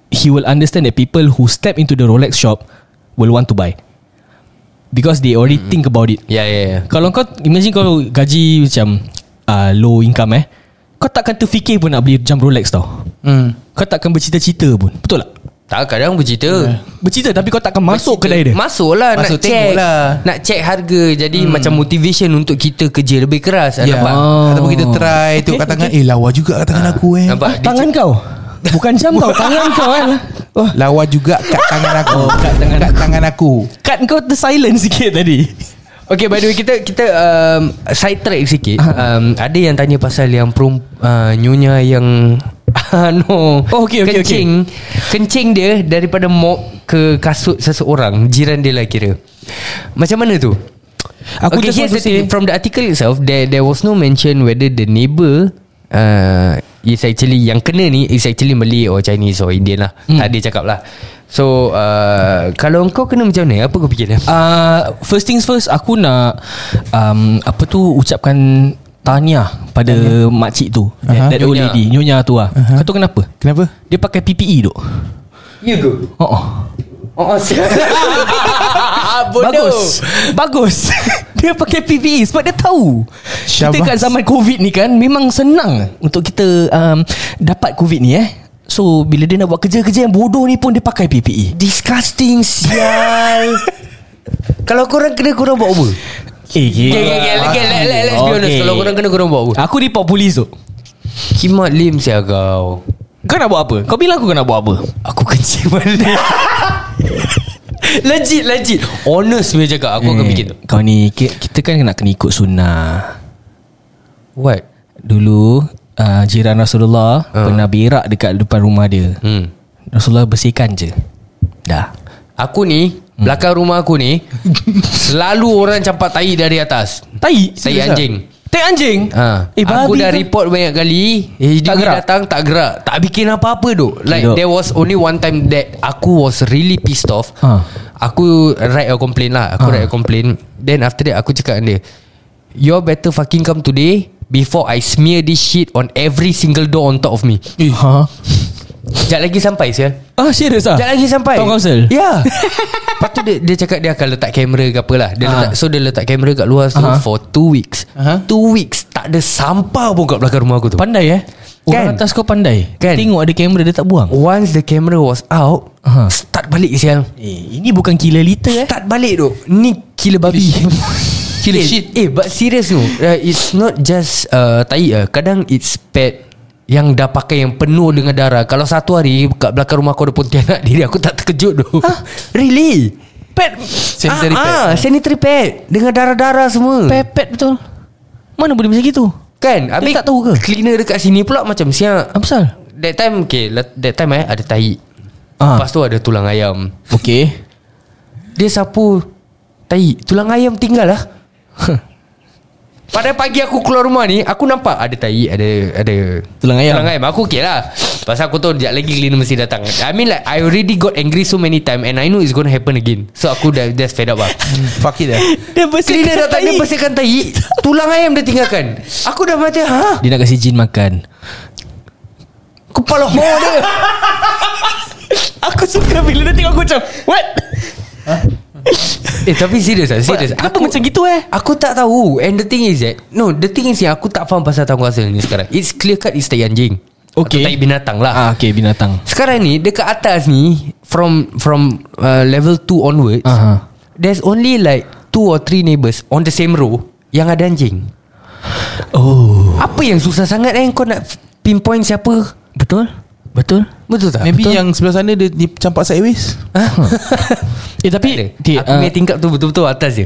[SPEAKER 3] He will understand that people Who step into the Rolex shop Will want to buy Because they already mm. think about it
[SPEAKER 2] Ya ya ya
[SPEAKER 3] kalau kau Imagine kalau gaji macam uh, Low income eh Kau takkan terfikir pun Nak beli jam Rolex tau
[SPEAKER 5] hmm.
[SPEAKER 3] Kau takkan bercita-cita pun Betul tak?
[SPEAKER 2] Tak kadang bercerita
[SPEAKER 3] Bercita tapi kau takkan Ya. masuk
[SPEAKER 2] Bercerita.
[SPEAKER 3] kedai dia
[SPEAKER 2] Masuklah
[SPEAKER 5] Masuk
[SPEAKER 2] Nak check
[SPEAKER 5] tengok lah.
[SPEAKER 2] Nak check harga Jadi
[SPEAKER 3] Hmm.
[SPEAKER 2] macam motivation Untuk kita kerja lebih keras
[SPEAKER 5] Ya
[SPEAKER 2] yeah. Nampak
[SPEAKER 3] Oh.
[SPEAKER 5] Ataupun kita try Tengok kat tangan Eh lawa juga kat tangan aku eh
[SPEAKER 2] Nampak
[SPEAKER 3] ah, Tangan kau Bukan jam kau Tangan kau kan oh,
[SPEAKER 5] Lawa juga kat tangan aku Kat tangan, kat tangan aku
[SPEAKER 3] Cut kau tersilent sikit tadi
[SPEAKER 2] Okay by the way Kita kita um, Side track sikit um, Ada yang tanya pasal Yang perum uh, Nyonya yang no.
[SPEAKER 3] Oh, okay, okay,
[SPEAKER 2] Kencing okay. Kencing dia Daripada mop Ke kasut seseorang Jiran dia lah kira Macam mana tu?
[SPEAKER 3] Aku
[SPEAKER 2] okay,
[SPEAKER 3] just
[SPEAKER 2] here's
[SPEAKER 3] want
[SPEAKER 2] the
[SPEAKER 3] to say
[SPEAKER 2] thing. From the article itself, there there was no mention whether the neighbour uh, is actually yang kena ni is actually Malay or Chinese or Indian lah. Hmm. Tak ada cakap lah. So uh, kalau kau kena macam mana? Apa kau fikir dia?
[SPEAKER 3] uh, First things first Aku nak um, Apa tu Ucapkan Tahniah Pada makcik tu uh-huh. That old
[SPEAKER 2] Nyonya.
[SPEAKER 3] lady Nyonya tu lah uh-huh. Kau tahu kenapa?
[SPEAKER 5] Kenapa?
[SPEAKER 3] Dia pakai PPE duk
[SPEAKER 2] You go.
[SPEAKER 3] Oh, oh.
[SPEAKER 2] Oh,
[SPEAKER 3] Bagus Bagus Dia pakai PPE Sebab dia tahu Kita
[SPEAKER 5] Syabas.
[SPEAKER 3] kat zaman COVID ni kan Memang senang Untuk kita um, Dapat COVID ni eh So bila dia nak buat kerja-kerja yang bodoh ni pun Dia pakai E. PPE
[SPEAKER 2] Disgusting sial. kalau korang kena korang buat apa?
[SPEAKER 3] Eh
[SPEAKER 2] Okay, okay, okay, okay, let, let, let's okay. be honest. Kalau korang kena korang buat apa?
[SPEAKER 3] Aku report polis tu
[SPEAKER 2] Kimat lim sial kau.
[SPEAKER 3] Kau nak buat apa? Kau bilang aku kau nak buat apa?
[SPEAKER 2] Aku kencing balik Legit legit Honest punya cakap Aku
[SPEAKER 3] Hmm.
[SPEAKER 2] akan bikin tu
[SPEAKER 3] Eh, Kau ni ki- Kita kan nak kena ikut sunnah
[SPEAKER 2] What? Ah.
[SPEAKER 3] Dulu uh, Jiran Rasulullah uh. Pernah berak dekat depan rumah dia
[SPEAKER 2] Hmm.
[SPEAKER 3] Rasulullah bersihkan je Dah
[SPEAKER 2] Aku ni hmm. Belakang rumah aku ni Selalu orang campak tai dari atas
[SPEAKER 3] Tai
[SPEAKER 2] Tai anjing
[SPEAKER 3] ah? Tai anjing
[SPEAKER 2] Ha. Eh, aku dah report banyak kali eh,
[SPEAKER 3] Tak
[SPEAKER 2] Dia
[SPEAKER 3] gerak?
[SPEAKER 2] datang tak gerak Tak bikin apa-apa tu Like
[SPEAKER 3] Hidup.
[SPEAKER 2] there was only one time That aku was really pissed off
[SPEAKER 3] Ha.
[SPEAKER 2] Aku write a complaint lah Aku write a complaint Then after that aku cakap dengan dia You're better fucking come today Before I smear this shit On every single door on top of me
[SPEAKER 3] Eh. Ha?
[SPEAKER 2] Sekejap lagi sampai saya
[SPEAKER 3] Ah serius ah?
[SPEAKER 2] Sekejap lagi sampai
[SPEAKER 3] Town Council?
[SPEAKER 2] Ya Lepas tu dia, dia cakap dia akan letak kamera ke apa lah dia
[SPEAKER 3] Ah.
[SPEAKER 2] letak, So dia letak kamera kat luar tu
[SPEAKER 3] Ah.
[SPEAKER 2] For two weeks
[SPEAKER 5] Aha.
[SPEAKER 2] Two weeks Tak ada sampah pun kat belakang rumah aku tu
[SPEAKER 3] Pandai eh Orang
[SPEAKER 2] Kan?
[SPEAKER 3] atas kau pandai
[SPEAKER 2] Kan? Oh.
[SPEAKER 3] Tengok ada kamera dia tak buang
[SPEAKER 2] Once the camera was out
[SPEAKER 3] Aha.
[SPEAKER 2] Start balik sial
[SPEAKER 3] Eh ini bukan killer liter eh
[SPEAKER 2] Start balik tu Ni killer babi
[SPEAKER 5] Killer
[SPEAKER 2] eh,
[SPEAKER 5] shit.
[SPEAKER 2] Eh but serious no uh, It's not just uh, Tai uh, Kadang it's pet Yang dah pakai yang penuh dengan darah Kalau satu hari Kat belakang rumah aku ada pontianak Diri aku tak terkejut tu Really Pet
[SPEAKER 5] Sanitary
[SPEAKER 2] ah,
[SPEAKER 5] pad.
[SPEAKER 2] ah, Sanitary pet Dengan darah-darah semua pet.
[SPEAKER 3] Pepet betul Mana boleh macam gitu
[SPEAKER 2] Kan Habis
[SPEAKER 3] tak tahu ke?
[SPEAKER 2] Cleaner dekat sini pula Macam siap
[SPEAKER 3] Apa pasal?
[SPEAKER 2] That time okay, la- That time eh Ada tai
[SPEAKER 3] Ah.
[SPEAKER 2] Lepas tu ada tulang ayam
[SPEAKER 3] Okay
[SPEAKER 2] Dia sapu Tai Tulang ayam tinggal lah Pada pagi aku keluar rumah ni Aku nampak ada tai Ada ada
[SPEAKER 3] Tulang ayam.
[SPEAKER 2] Tulang ayam Aku okay lah Pasal aku tahu Sekejap lagi cleaner mesti datang I mean like I already got angry so many time And I know it's gonna happen again So aku dah just fed up lah
[SPEAKER 5] Fuck it lah
[SPEAKER 3] Dia bersihkan
[SPEAKER 2] Cleaner datang dia bersihkan tai Tulang ayam dia tinggalkan Aku dah macam ha?
[SPEAKER 3] Dia nak kasih jin makan
[SPEAKER 2] Kepala ho dia
[SPEAKER 3] Aku suka bila dia tengok aku macam What?
[SPEAKER 2] Eh tapi serius lah Serius
[SPEAKER 3] Kenapa macam gitu eh?
[SPEAKER 2] Aku tak tahu And the thing is that No the thing is yang Aku tak faham pasal tanggung kuasa ni sekarang It's clear cut It's tai anjing
[SPEAKER 3] Okay.
[SPEAKER 2] Atau Tai binatang lah
[SPEAKER 3] Ah, okay binatang
[SPEAKER 2] Sekarang ni Dekat atas ni From From uh, level 2 onwards
[SPEAKER 3] Aha.
[SPEAKER 2] There's only like Two or three neighbours On the same row Yang ada anjing
[SPEAKER 3] Oh
[SPEAKER 2] Apa yang susah sangat eh Kau nak pinpoint siapa
[SPEAKER 3] Betul? Betul?
[SPEAKER 2] Betul tak?
[SPEAKER 5] Maybe yang sebelah sana Dia dia campak sideways
[SPEAKER 3] Eh tapi
[SPEAKER 2] Ada.
[SPEAKER 3] okay,
[SPEAKER 2] Aku
[SPEAKER 3] ah,
[SPEAKER 2] punya tingkap tu betul-betul atas je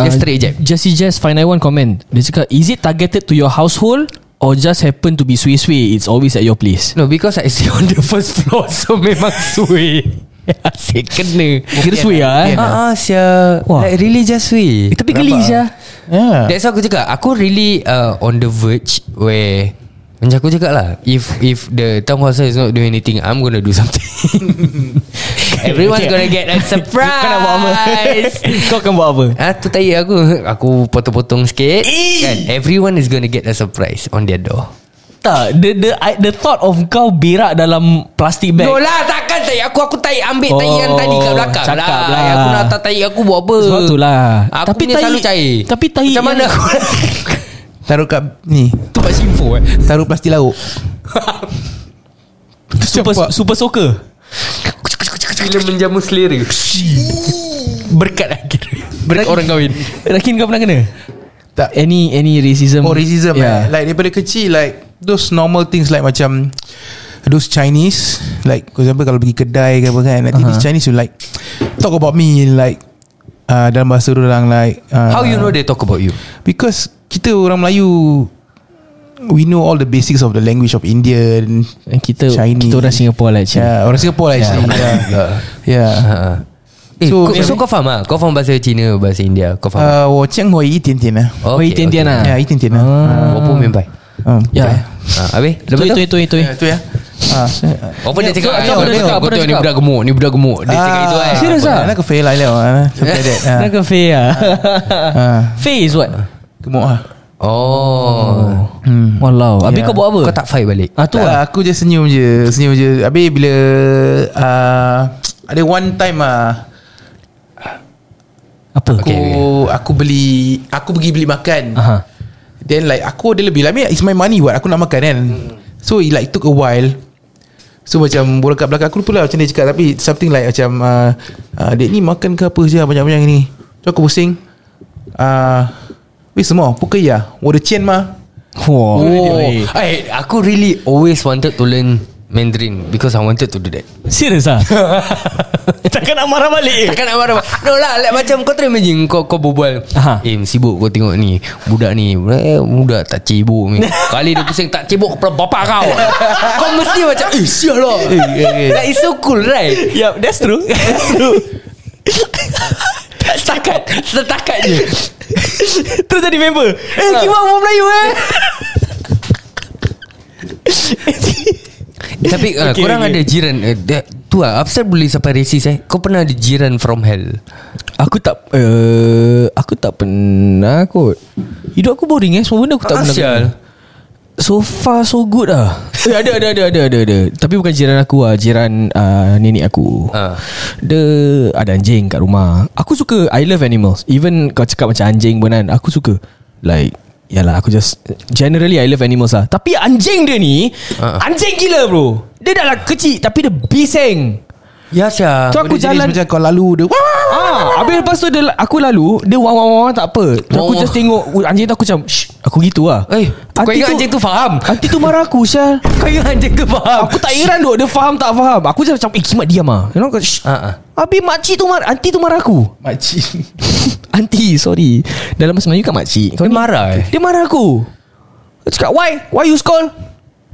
[SPEAKER 3] ah,
[SPEAKER 2] Just straight je
[SPEAKER 3] Just just find one comment Dia cakap Is it targeted to your household Or just happen to be swee-swee It's always at your place
[SPEAKER 2] No because I stay on the first floor So memang suai Asyik kena
[SPEAKER 3] Kira swee lah eh
[SPEAKER 2] Ah, ah sia
[SPEAKER 3] Wah.
[SPEAKER 2] Like really just lah. suai
[SPEAKER 3] Eh, Tapi geli je Ah.
[SPEAKER 5] Yeah
[SPEAKER 2] That's how aku cakap Aku really uh, on the verge Where Macam aku cakap lah If if the town council is not doing anything I'm gonna do something Everyone's
[SPEAKER 3] Okay.
[SPEAKER 2] gonna get a surprise
[SPEAKER 3] Kau nak buat apa Kau akan buat apa
[SPEAKER 2] Ah tu tahi aku Aku potong-potong sikit kan? Everyone is gonna get a surprise On their door
[SPEAKER 3] Tak the, the, I- the thought of kau berak dalam plastik bag
[SPEAKER 2] No lah takkan tahi aku Aku tahi ambil tahi
[SPEAKER 3] Oh,
[SPEAKER 2] yang tadi kat belakang
[SPEAKER 3] cakap
[SPEAKER 2] lah.
[SPEAKER 3] lah.
[SPEAKER 2] Aku nak tak tahi aku buat apa
[SPEAKER 3] Sebab tu lah
[SPEAKER 2] Aku tapi punya selalu cair
[SPEAKER 3] Tapi tahi
[SPEAKER 2] Macam mana aku
[SPEAKER 5] Taruh kat Ni
[SPEAKER 2] Tempat simpo eh
[SPEAKER 5] Taruh plastik lauk
[SPEAKER 3] Super,
[SPEAKER 5] Cepat.
[SPEAKER 3] super soccer
[SPEAKER 2] Bila menjamu selera Berkat
[SPEAKER 3] lah
[SPEAKER 2] akhir Berkat orang kahwin
[SPEAKER 3] Rakin kau pernah kena
[SPEAKER 5] Tak
[SPEAKER 3] Any any racism Ya.
[SPEAKER 5] Oh racism yeah. eh.
[SPEAKER 3] yeah.
[SPEAKER 5] Like daripada kecil Like Those normal things Like macam Those Chinese Like For example Kalau pergi kedai ke apa kan Nanti uh-huh. these Chinese will like Talk about me Like uh, Dalam bahasa orang like uh,
[SPEAKER 2] How you know they talk about you
[SPEAKER 5] Because Kita orang Melayu We know all the basics Of the language of Indian
[SPEAKER 3] And Kita
[SPEAKER 5] eh. Chinese.
[SPEAKER 3] kita orang Singapore lah actually
[SPEAKER 5] Yeah, Orang Singapore lah actually Yeah, yeah.
[SPEAKER 2] uh, Eh, so,
[SPEAKER 5] So-
[SPEAKER 2] kau, so kau faham ah? Kau faham bahasa Cina, bahasa India, kau faham?
[SPEAKER 5] Uh, 我讲我一点点啊
[SPEAKER 2] Uh,
[SPEAKER 3] 我一点点啊 Ah.
[SPEAKER 5] Yeah，一点点啊
[SPEAKER 2] 我不明白。
[SPEAKER 5] 嗯，
[SPEAKER 3] Yeah.
[SPEAKER 2] Ah, habis?
[SPEAKER 3] Itu
[SPEAKER 2] Lepas tu?
[SPEAKER 3] itu itu itu.
[SPEAKER 5] 对啊，啊，
[SPEAKER 2] Apa dia cakap?
[SPEAKER 3] so- so
[SPEAKER 2] "Ah,
[SPEAKER 3] apa dia cakap?
[SPEAKER 2] kau
[SPEAKER 3] Apa dia
[SPEAKER 2] tengok ni
[SPEAKER 3] cakap?
[SPEAKER 2] budak gemuk, ni budak gemuk. Dia cakap itu kan.
[SPEAKER 3] serious ah? 那
[SPEAKER 5] 那个肥来了啊，那个
[SPEAKER 3] 个飞啊，Ah. 飞 ah? is what？
[SPEAKER 2] Oh.
[SPEAKER 3] Hmm. Walau. Abi
[SPEAKER 5] Yeah.
[SPEAKER 3] kau buat apa?
[SPEAKER 2] Kau tak fight balik.
[SPEAKER 3] Ah tu
[SPEAKER 5] Tak,
[SPEAKER 3] lah.
[SPEAKER 5] Aku je senyum je Senyum je Habis bila uh, Ada one time ah
[SPEAKER 3] Apa?
[SPEAKER 5] Aku
[SPEAKER 2] Okay, okay.
[SPEAKER 5] Aku beli Aku pergi beli makan
[SPEAKER 3] Aha.
[SPEAKER 5] Then like Aku ada lebih lah I mean, It's my money what Aku nak makan kan So it like took a while So macam Orang kat belakang aku pula Macam dia cakap Tapi something like Macam uh, uh, Dek ni makan ke apa je lah Banyak-banyak ni So aku pusing uh, Weh semua ya. 不可以啊我的钱吗
[SPEAKER 3] Wah.
[SPEAKER 2] Eh, Oh. I, aku really always wanted to learn Mandarin because I wanted to do that.
[SPEAKER 3] Serius ah? Takkan nak marah balik
[SPEAKER 2] Takkan nak marah No lah like, Macam kau try imagine Kau, kau berbual
[SPEAKER 3] Aha.
[SPEAKER 2] Eh sibuk kau tengok ni Budak ni eh, Budak tak cibuk ni Kali dia pusing Tak cibuk kepala bapak kau Kau mesti macam Eh sial lah Like it's so cool right
[SPEAKER 3] Yup that's true That's true
[SPEAKER 2] Setakat Setakat je
[SPEAKER 3] Terus jadi member Eh Kimak orang Melayu eh
[SPEAKER 2] Tapi uh, okay,
[SPEAKER 3] Okay,
[SPEAKER 2] korang
[SPEAKER 3] okay.
[SPEAKER 2] ada jiran uh, that, Tu lah Upset boleh sampai racist eh Kau pernah ada jiran from hell
[SPEAKER 3] Aku tak uh, Aku tak pernah kot Hidup aku boring eh Semua benda aku tak
[SPEAKER 2] Ah,
[SPEAKER 3] pernah
[SPEAKER 2] sial.
[SPEAKER 3] kena. So far so good lah eh, ada, ada ada ada ada ada Tapi bukan jiran aku lah Jiran uh, nenek aku
[SPEAKER 2] Ah.
[SPEAKER 3] Dia ada anjing kat rumah Aku suka I love animals Even kau cakap macam anjing pun kan Aku suka Like Yalah aku just Generally I love animals lah Tapi anjing dia ni
[SPEAKER 2] Ah.
[SPEAKER 3] Anjing gila bro Dia dah lah kecil Tapi dia bising
[SPEAKER 2] Ya Syah
[SPEAKER 3] Tu aku
[SPEAKER 5] Benda jenis
[SPEAKER 3] jalan
[SPEAKER 5] Macam kau lalu dia Wah
[SPEAKER 3] Ah, habis lepas tu dia, aku lalu dia wah wah wah, wah tak apa. Terus aku
[SPEAKER 2] Wah,
[SPEAKER 3] just tengok anjing tu aku macam Shh, aku gitu lah.
[SPEAKER 2] Eh Kau ingat anjing tu faham
[SPEAKER 3] Hati tu marah aku Syal
[SPEAKER 2] Kau ingat anjing tu faham
[SPEAKER 3] Aku tak heran duk Dia faham tak faham Aku just macam Eh kimat diam lah You know kau shh.
[SPEAKER 2] Ah, ah.
[SPEAKER 3] Habis makcik tu marah Aunty tu marah aku
[SPEAKER 5] Makcik
[SPEAKER 3] Aunty sorry Dalam bahasa Melayu kan makcik
[SPEAKER 2] Kau
[SPEAKER 3] Kau ni-
[SPEAKER 2] marah eh
[SPEAKER 3] Dia marah aku Dia cakap why Why you scold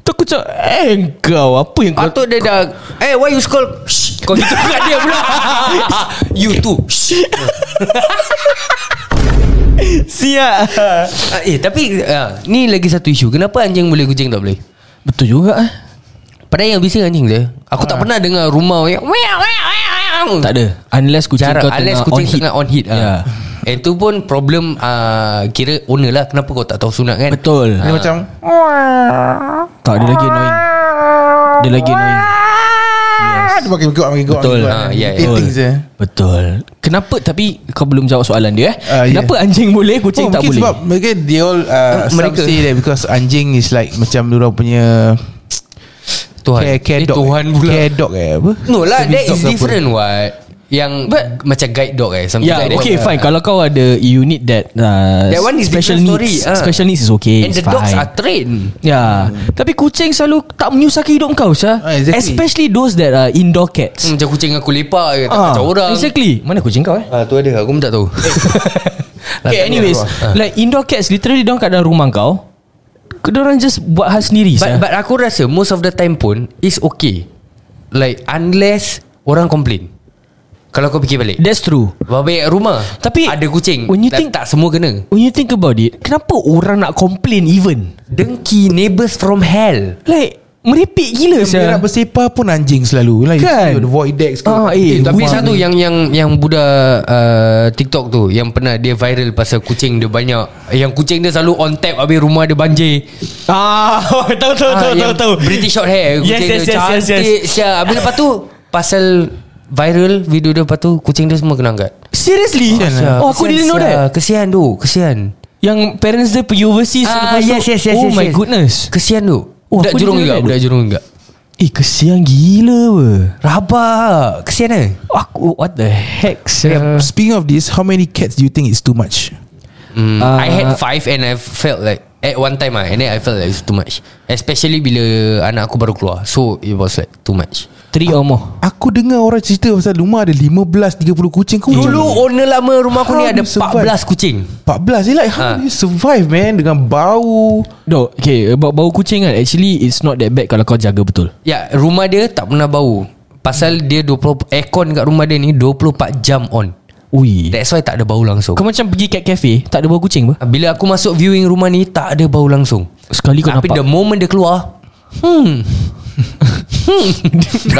[SPEAKER 3] Tu aku cakap Eh kau apa yang kau
[SPEAKER 2] Patut dia dah Eh why you call Shh, Kau gitu kat dia pula You too Shh.
[SPEAKER 3] siap
[SPEAKER 2] Ah, Eh tapi ah, Ni lagi satu isu Kenapa anjing boleh kucing tak boleh
[SPEAKER 3] Betul juga eh
[SPEAKER 2] Padahal yang bising anjing dia Aku
[SPEAKER 3] Ah.
[SPEAKER 2] tak pernah dengar rumah yang "Meow, meow, meow, meow."
[SPEAKER 3] Tak ada Unless kucing
[SPEAKER 2] Jarang
[SPEAKER 3] kau
[SPEAKER 2] Unless
[SPEAKER 3] tengah
[SPEAKER 2] kucing
[SPEAKER 3] on
[SPEAKER 2] on tengah on hit
[SPEAKER 3] Ya yeah.
[SPEAKER 2] ah. And tu pun problem ah, Kira owner lah Kenapa kau tak tahu sunat kan
[SPEAKER 3] Betul
[SPEAKER 5] Dia macam
[SPEAKER 3] Tak ada lagi annoying Dia lagi annoying
[SPEAKER 5] ah, Dia makin go Makin go
[SPEAKER 3] Betul.
[SPEAKER 5] makin go.
[SPEAKER 2] Ah, ya, ya.
[SPEAKER 5] Irritating je
[SPEAKER 3] Betul Kenapa tapi Kau belum jawab soalan dia eh
[SPEAKER 5] Ah, ya.
[SPEAKER 3] Kenapa anjing boleh Kucing
[SPEAKER 5] Oh,
[SPEAKER 3] tak
[SPEAKER 5] mungkin
[SPEAKER 3] boleh
[SPEAKER 5] sebab Mungkin they all uh, Some
[SPEAKER 2] mereka.
[SPEAKER 5] say that Because anjing is like Macam diorang punya
[SPEAKER 2] Tuhan
[SPEAKER 5] Care, care
[SPEAKER 2] Eh,
[SPEAKER 5] dog
[SPEAKER 2] Tuhan pula
[SPEAKER 5] Care dog eh apa
[SPEAKER 2] No lah
[SPEAKER 5] Service
[SPEAKER 2] That
[SPEAKER 5] dog ke
[SPEAKER 2] is
[SPEAKER 5] apa.
[SPEAKER 2] different what Yang But, Macam guide dog eh Something
[SPEAKER 3] Ya
[SPEAKER 2] like
[SPEAKER 3] yeah,
[SPEAKER 2] that
[SPEAKER 3] okay fine Kalau kau ada You need that uh,
[SPEAKER 2] That one is
[SPEAKER 3] Special
[SPEAKER 2] different
[SPEAKER 3] needs
[SPEAKER 2] story, ah.
[SPEAKER 3] Special needs is okay
[SPEAKER 2] And
[SPEAKER 3] it's
[SPEAKER 2] the dogs
[SPEAKER 3] fine.
[SPEAKER 2] are trained
[SPEAKER 3] Ya yeah. Tapi kucing selalu Tak menyusahkan hidup kau Syah
[SPEAKER 5] Ah, exactly.
[SPEAKER 3] Especially those that are Indoor cats
[SPEAKER 2] Hmm, Macam kucing aku lepak je
[SPEAKER 3] Ah.
[SPEAKER 2] Tak kacau orang
[SPEAKER 3] Exactly Mana kucing kau eh
[SPEAKER 2] Ah tu ada aku pun tak tahu.
[SPEAKER 3] Okay anyways
[SPEAKER 2] Ah.
[SPEAKER 3] Like indoor cats Literally dia orang kat dalam rumah kau Kedorang just buat hal sendiri
[SPEAKER 2] Eh, but,
[SPEAKER 3] Syah.
[SPEAKER 2] but aku rasa most of the time pun is okay. Like unless orang complain. Kalau kau fikir balik.
[SPEAKER 3] That's true
[SPEAKER 2] Baik rumah
[SPEAKER 3] Tapi-
[SPEAKER 2] Ada kucing
[SPEAKER 3] When you
[SPEAKER 2] Tak-
[SPEAKER 3] think-
[SPEAKER 2] Tak semua kena
[SPEAKER 3] When you think about it Kenapa orang nak complain even
[SPEAKER 2] Dengki neighbours from hell
[SPEAKER 3] Like Merepek gila
[SPEAKER 5] Berak
[SPEAKER 3] saya.
[SPEAKER 5] bersepah pun anjing selalu lah. You see
[SPEAKER 3] Kan?
[SPEAKER 5] The void decks ke.
[SPEAKER 3] Ah, eh,
[SPEAKER 2] Eh, tapi
[SPEAKER 3] rumah
[SPEAKER 2] satu
[SPEAKER 3] ni.
[SPEAKER 2] yang yang yang budak uh, TikTok tu yang pernah dia viral pasal kucing dia banyak. Yang kucing dia selalu on tap habis rumah dia banjir.
[SPEAKER 3] Ah Tahu tahu tahu
[SPEAKER 2] Ah,
[SPEAKER 3] tahu
[SPEAKER 2] yang
[SPEAKER 3] tahu
[SPEAKER 2] British short hair
[SPEAKER 3] Yes,
[SPEAKER 2] kucing
[SPEAKER 3] yes,
[SPEAKER 2] dia
[SPEAKER 3] yes, yes, yes.
[SPEAKER 2] Cantik siap. Habis lepas tu Pasal viral video dia lepas tu Kucing dia semua kena angkat
[SPEAKER 3] Seriously
[SPEAKER 2] Siap.
[SPEAKER 3] Oh aku
[SPEAKER 2] Kesian,
[SPEAKER 3] didn't know
[SPEAKER 2] siap.
[SPEAKER 3] that
[SPEAKER 2] Kesian tu Kesian
[SPEAKER 3] Yang parents dia pergi overseas
[SPEAKER 2] Ah,
[SPEAKER 3] lepas tu,
[SPEAKER 2] yes, yes, yes,
[SPEAKER 3] Oh
[SPEAKER 2] yes,
[SPEAKER 3] my
[SPEAKER 2] yes.
[SPEAKER 3] goodness
[SPEAKER 2] Kesian tu
[SPEAKER 3] Oh,
[SPEAKER 2] Budak
[SPEAKER 3] aku didn't
[SPEAKER 2] jurung juga
[SPEAKER 3] know that.
[SPEAKER 2] Budak jurung juga
[SPEAKER 3] Eh kesian gila we.
[SPEAKER 2] Rabak Kesian eh
[SPEAKER 3] Aku What the heck
[SPEAKER 5] Yeah.
[SPEAKER 3] sial.
[SPEAKER 5] Speaking of this, how many cats do you think is too much?
[SPEAKER 2] mm,
[SPEAKER 3] Ah.
[SPEAKER 2] I had five And I felt like At one time ah, And then I felt like It's too much Especially bila Anak aku baru keluar So it was like Too much
[SPEAKER 3] Three or more
[SPEAKER 5] Aku dengar orang cerita pasal rumah ada 15 30 kucing. Kau
[SPEAKER 2] Dulu owner lama rumah aku ni
[SPEAKER 5] How
[SPEAKER 2] Ada
[SPEAKER 5] you survive?
[SPEAKER 2] 14 kucing
[SPEAKER 5] 14 je eh, like
[SPEAKER 2] Ah.
[SPEAKER 5] how do you survive man dengan bau.
[SPEAKER 3] No Okay about bau kucing kan Actually it's not that bad Kalau kau jaga betul
[SPEAKER 2] Ya rumah dia tak pernah bau Pasal dia 20 Aircon kat rumah dia ni 24 jam on
[SPEAKER 3] Ui
[SPEAKER 2] That's why tak ada bau langsung
[SPEAKER 3] Kau macam pergi cat cafe Tak ada bau kucing apa
[SPEAKER 2] Bila aku masuk viewing rumah ni Tak ada bau langsung
[SPEAKER 3] Sekali kau
[SPEAKER 2] Tapi
[SPEAKER 3] nampak
[SPEAKER 2] the moment dia keluar Hmm Hmm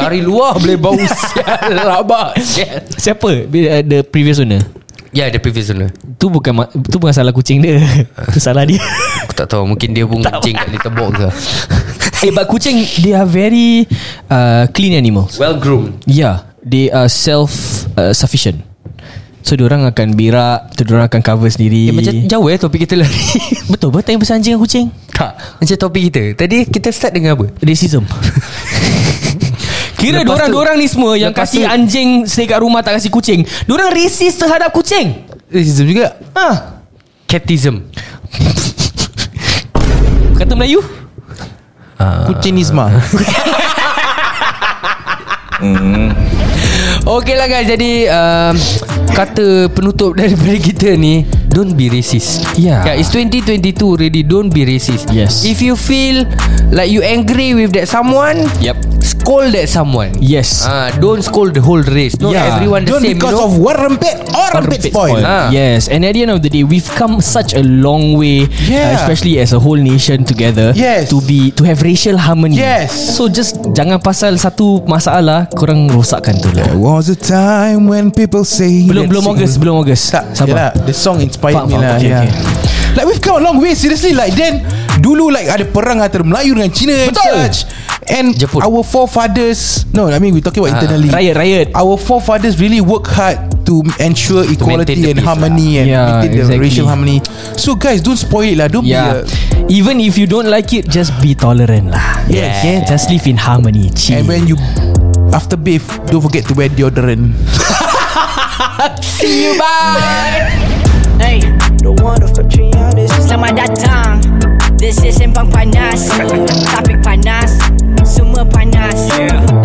[SPEAKER 2] Dari luar boleh bau Sial Rabak Sial
[SPEAKER 3] Siapa Bila, uh, The previous owner
[SPEAKER 2] Ya yeah, the previous owner
[SPEAKER 3] Tu bukan ma- tu bukan salah kucing dia. tu salah dia.
[SPEAKER 2] Aku tak tahu Mungkin dia pun kencing kat little box lah
[SPEAKER 3] eh but kucing they are very uh, clean animals.
[SPEAKER 2] Well groomed
[SPEAKER 3] Yeah, Ya, they are self uh, sufficient. So diorang akan berak, tu diorang akan cover sendiri.
[SPEAKER 2] eh, Macam jauh eh topik kita lari
[SPEAKER 3] betul betul tanya pasal anjing dan kucing.
[SPEAKER 2] Tak Macam topik kita Tadi kita start dengan apa?
[SPEAKER 3] Racism. Kira
[SPEAKER 2] Lepas
[SPEAKER 3] diorang
[SPEAKER 2] tu-
[SPEAKER 3] diorang ni semua yang
[SPEAKER 2] lepas
[SPEAKER 3] kasih
[SPEAKER 2] tu-
[SPEAKER 3] anjing stay kat rumah tak kasih kucing. Diorang racist terhadap kucing.
[SPEAKER 5] Racism juga.
[SPEAKER 3] Ha.
[SPEAKER 2] Catism
[SPEAKER 3] Kata Melayu?
[SPEAKER 5] Kucinisme.
[SPEAKER 2] Okay lah guys Jadi um, Kata penutup daripada kita ni Don't be racist
[SPEAKER 5] Ya.
[SPEAKER 3] Yeah.
[SPEAKER 2] yeah It's 2022 already Don't be racist
[SPEAKER 3] Yes.
[SPEAKER 2] If you feel Like you angry with that someone
[SPEAKER 3] Yep.
[SPEAKER 2] Scold that someone
[SPEAKER 3] Yes.
[SPEAKER 2] Ah, Don't scold the whole race Not
[SPEAKER 3] Yeah.
[SPEAKER 2] everyone
[SPEAKER 5] Ya.
[SPEAKER 2] the
[SPEAKER 5] Don't
[SPEAKER 2] same
[SPEAKER 5] because
[SPEAKER 2] you know?
[SPEAKER 5] of one rempit or rempit spoil.
[SPEAKER 2] spoil. Ah.
[SPEAKER 3] Yes, and at the end of the day, we've come such a long way, uh,
[SPEAKER 5] Yeah.
[SPEAKER 3] especially as a whole nation together.
[SPEAKER 5] Yes.
[SPEAKER 3] to be to have racial harmony.
[SPEAKER 5] Yes.
[SPEAKER 3] So just jangan pasal satu masalah korang rosakkan tu lah.
[SPEAKER 5] There was a time when people say
[SPEAKER 3] Belum belum Ogos, belum Ogos.
[SPEAKER 5] Tak lah.
[SPEAKER 3] Sabar.
[SPEAKER 5] yelah, The song inspired
[SPEAKER 3] Faham,
[SPEAKER 5] me
[SPEAKER 3] faham,
[SPEAKER 5] lah
[SPEAKER 3] okay,
[SPEAKER 5] yeah.
[SPEAKER 3] okay.
[SPEAKER 5] Like we've come a long way Seriously like then Dulu like ada perang Antara Melayu dengan Cina and
[SPEAKER 2] Betul.
[SPEAKER 5] such. And
[SPEAKER 2] Jepun.
[SPEAKER 5] our forefathers No I mean we talking
[SPEAKER 3] Ah,
[SPEAKER 5] about internally
[SPEAKER 3] Riot, riot.
[SPEAKER 5] Our forefathers really work hard To ensure
[SPEAKER 2] maintain
[SPEAKER 5] equality
[SPEAKER 2] the
[SPEAKER 5] And
[SPEAKER 2] peace
[SPEAKER 5] harmony And
[SPEAKER 3] lah. Yeah,
[SPEAKER 5] maintain the
[SPEAKER 3] exactly.
[SPEAKER 5] racial harmony So guys don't spoil it lah Don't be
[SPEAKER 3] Yeah.
[SPEAKER 5] a
[SPEAKER 3] Ya. Even if you don't like it, just be tolerant lah.
[SPEAKER 2] Yes.
[SPEAKER 3] Yeah. Just live in harmony. Chill.
[SPEAKER 5] And when you After bathe Don't forget to wear deodorant
[SPEAKER 1] Hey, Selamat datang This is Sempang Panas Topik panas Semua panas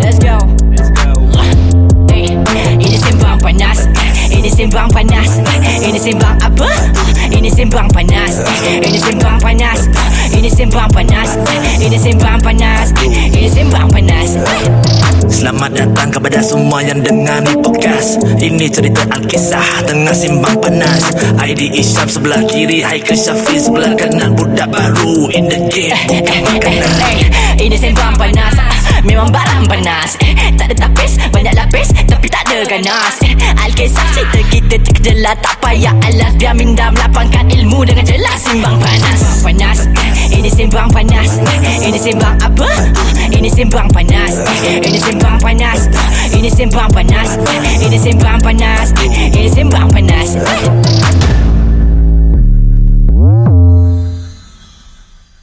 [SPEAKER 1] Let's go Hey, Ini Sembang Panas Ini Sembang Panas Ini Sembang apa? Ini Sembang Panas Ini Sembang Panas Ini Sembang Panas Ini Sembang Panas Ini Sembang Panas
[SPEAKER 4] Selamat datang kepada semua yang dengar ni podcast Ini cerita Alkisah tengah simbang panas ID Isyam sebelah kiri Haikal Syafiq sebelah kanan Budak baru in the game Bukan makanan
[SPEAKER 1] Eh, Ini sembang panas Ah, Memang barang panas Eh, Tak ada tapis Banyak lapis Tapi tak ada ganas Eh, Alkisah cerita kita terkejelah Tak payah alas Biar minda melapangkan ilmu Dengan jelas Simbang panas Sembang panas Eh, Ini sembang panas Eh, Ini sembang apa? Ah, Ini sembang panas Eh, Ini sembang panas Ah, Ini sembang panas Eh, Ini sembang panas Eh, Ini sembang panas Eh,